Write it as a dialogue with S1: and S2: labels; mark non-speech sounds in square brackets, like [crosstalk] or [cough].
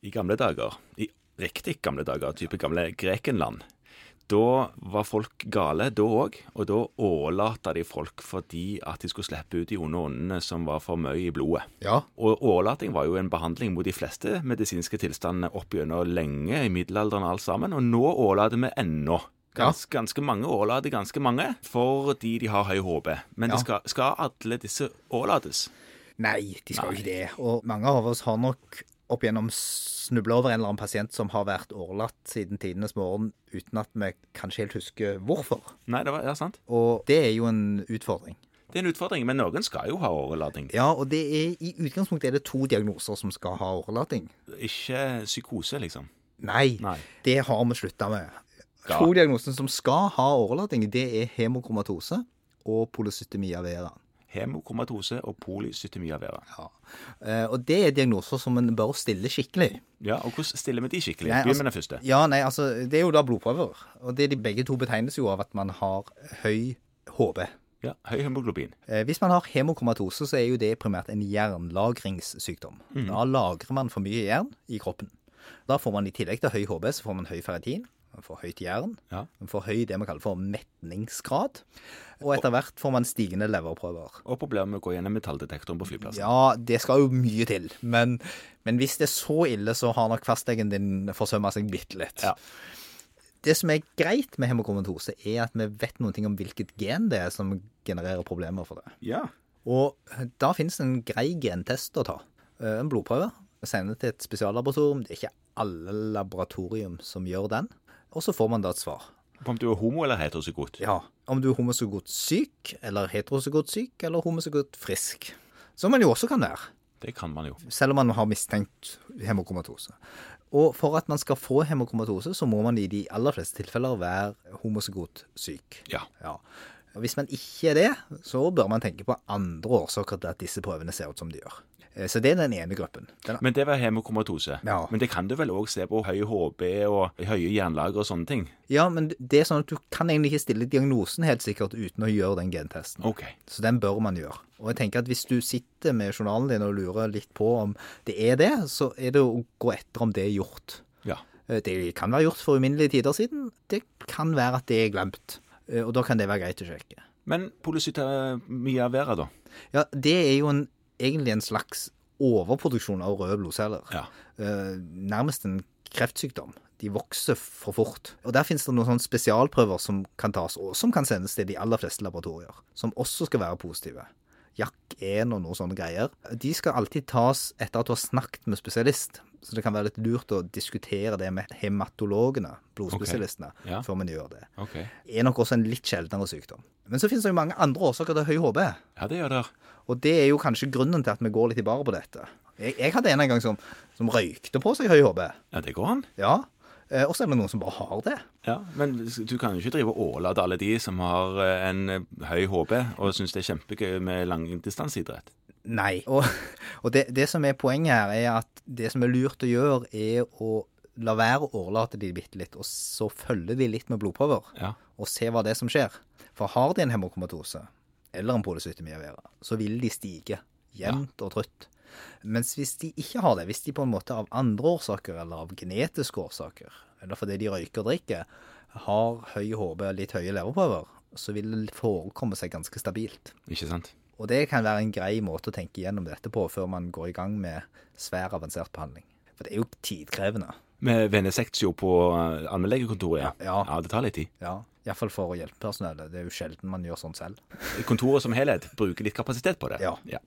S1: i gamle dager, i riktig gamle dager, type gamle Grekenland, da var folk gale da òg, og da ålata de folk fordi at de skulle slippe ut de onde åndene som var for mye i blodet.
S2: Ja.
S1: Og årlating var jo en behandling mot de fleste medisinske tilstandene opp gjennom lenge, i middelalderen og alt sammen, og nå ålater vi ennå. Gans, Ganske mange ålater ganske mange, fordi de har høy HB. Men
S2: Ja.
S1: det skal, skal alle disse ålates?
S2: Nei, de skal jo ikke det. Og mange av oss har nok opp gjennom snubla over en eller annen pasient som har vært årelatt siden tidenes morgen uten at vi kanskje helt husker hvorfor.
S1: Nei, det var, ja, sant?
S2: Og det er jo en utfordring.
S1: Det er en utfordring, men noen skal jo ha årelating.
S2: Ja, og det er, i utgangspunktet er det to diagnoser som skal ha årelating.
S1: Ikke psykose, liksom.
S2: Nei,
S1: Nei.
S2: det har vi slutta med.
S1: Ja.
S2: To diagnoser som skal ha årelating, det er hemokromatose og polycytemia vera.
S1: Hemokromatose og polycytemi av vera.
S2: Ja. Eh, Og det er diagnoser som en bør stille skikkelig.
S1: Ja, og hvordan stiller vi de skikkelig?
S2: Nei,
S1: Begynn med den
S2: altså-
S1: første.
S2: Ja, nei, altså, det er jo da blodprøver. Og det de begge to betegnes jo av at man har høy HB.
S1: Ja, Høy hemoglobin.
S2: Eh, Hvis man har hemokromatose, så er jo det primært en jernlagringssykdom.
S1: Mm.
S2: Da lagrer man for mye jern i kroppen. Da får man i tillegg til høy HB, så får man høy ferritin. Man får høyt jern.
S1: Ja.
S2: Man får høy det vi kaller for metningsgrad. Og etter hvert får man stigende leverprøver.
S1: Og problemet med å gå gjennom metalldetektoren på flyplassen.
S2: Ja, det skal jo mye til. Men, men hvis det er så ille, så har nok fastlegen din forsømma seg bitte litt.
S1: Ja.
S2: Det som er greit med hemokromatose, er at vi vet noen ting om hvilket gen det er som genererer problemer for det.
S1: Ja.
S2: Og da finnes det en grei gentest å ta. Eh, En blodprøve. Sende til et spesiallaboratorium. Det er ikke alle laboratorium som gjør den. Og så får man da et svar.
S1: Om du er homo eller heterozygot.
S2: Ja. Om du er homozygot syk, eller heterozygot syk, eller homozygot frisk. Som man jo også kan være
S1: Det kan man jo.
S2: selv om man har mistenkt hemokromatose. Og for at man skal få hemokromatose, så må man i de aller fleste tilfeller være homozygot syk.
S1: Ja.
S2: Ja. Og Hvis man ikke er det, så bør man tenke på andre årsaker til at disse prøvene ser ut som de gjør. Eh, Så det er den ene gruppen. Den,
S1: Men det var hemokromatose.
S2: Ja.
S1: Men det kan du vel òg se på høy HB og høye jernlager og sånne ting.
S2: ja, men det er sånn at du kan egentlig ikke stille diagnosen helt sikkert uten å gjøre den gentesten.
S1: OK.
S2: Så den bør man gjøre. Og jeg tenker at hvis du sitter med journalen din og lurer litt på om det er det, så er det å gå etter om det er gjort.
S1: Ja.
S2: Eh, Det kan være gjort for uminnelige tider siden. Det kan være at det er glemt. Eh, Og da kan det være greit å sjekke.
S1: Men polycytemia vera, da?
S2: Ja, det er jo en, egentlig en slags overproduksjon av røde blodceller.
S1: Ja.
S2: Eh, Nærmest en kreftsykdom. De vokser for fort. Og der finnes det noen sånne spesialprøver som kan tas, og som kan sendes til de aller fleste laboratorier, som også skal være positive. JAK1 E og noen sånne greier. De skal alltid tas etter at du har snakket med spesialist. Så det kan være litt lurt å diskutere det med hematologene, blodspesialistene,
S1: Ok. Ja.
S2: før man gjør det.
S1: OK.
S2: Det er nok også en litt sjeldnere sykdom. Men så finnes det jo mange andre årsaker til høy HB.
S1: Ja, det gjør det.
S2: Og det er jo kanskje grunnen til at vi går litt i bar på dette. Jeg, jeg hadde en en gang som, som røykte på seg høy HB.
S1: Ja, det går an.
S2: Ja. Eh, og så er det noen som bare har det.
S1: Ja, Men du kan jo ikke drive og ålate alle de som har eh, en eh, høy HB og syns det er kjempegøy med langdistanseidrett.
S2: Nei. [laughs] Og, og det, det som er poenget her, er at det som er lurt å gjøre, er å la være å årelate de bitte litt, og så følge de litt med blodprøver.
S1: Ja.
S2: Og se hva det er som skjer. For har de en hemokromatose, eller en polycytemia vera, så vil de stige jevnt og trutt. Mens hvis de ikke har det, hvis de på en måte av andre årsaker, eller av genetiske årsaker, eller fordi de røyker og drikker, har høy HB og litt høye leverprøver, så vil det forekomme seg ganske stabilt.
S1: Ikke sant?
S2: Og det kan være en grei måte å tenke gjennom dette på før man går i gang med svær avansert behandling. For det er jo tidkrevende.
S1: Med venesektio på eh, allmennlegekontoret?
S2: Ja.
S1: ja, det tar litt tid.
S2: Ja, Iallfall for hjelpepersonellet. Det er jo sjelden man gjør sånn selv.
S1: Kontoret som helhet bruker litt kapasitet på det.
S2: Ja.
S1: ja.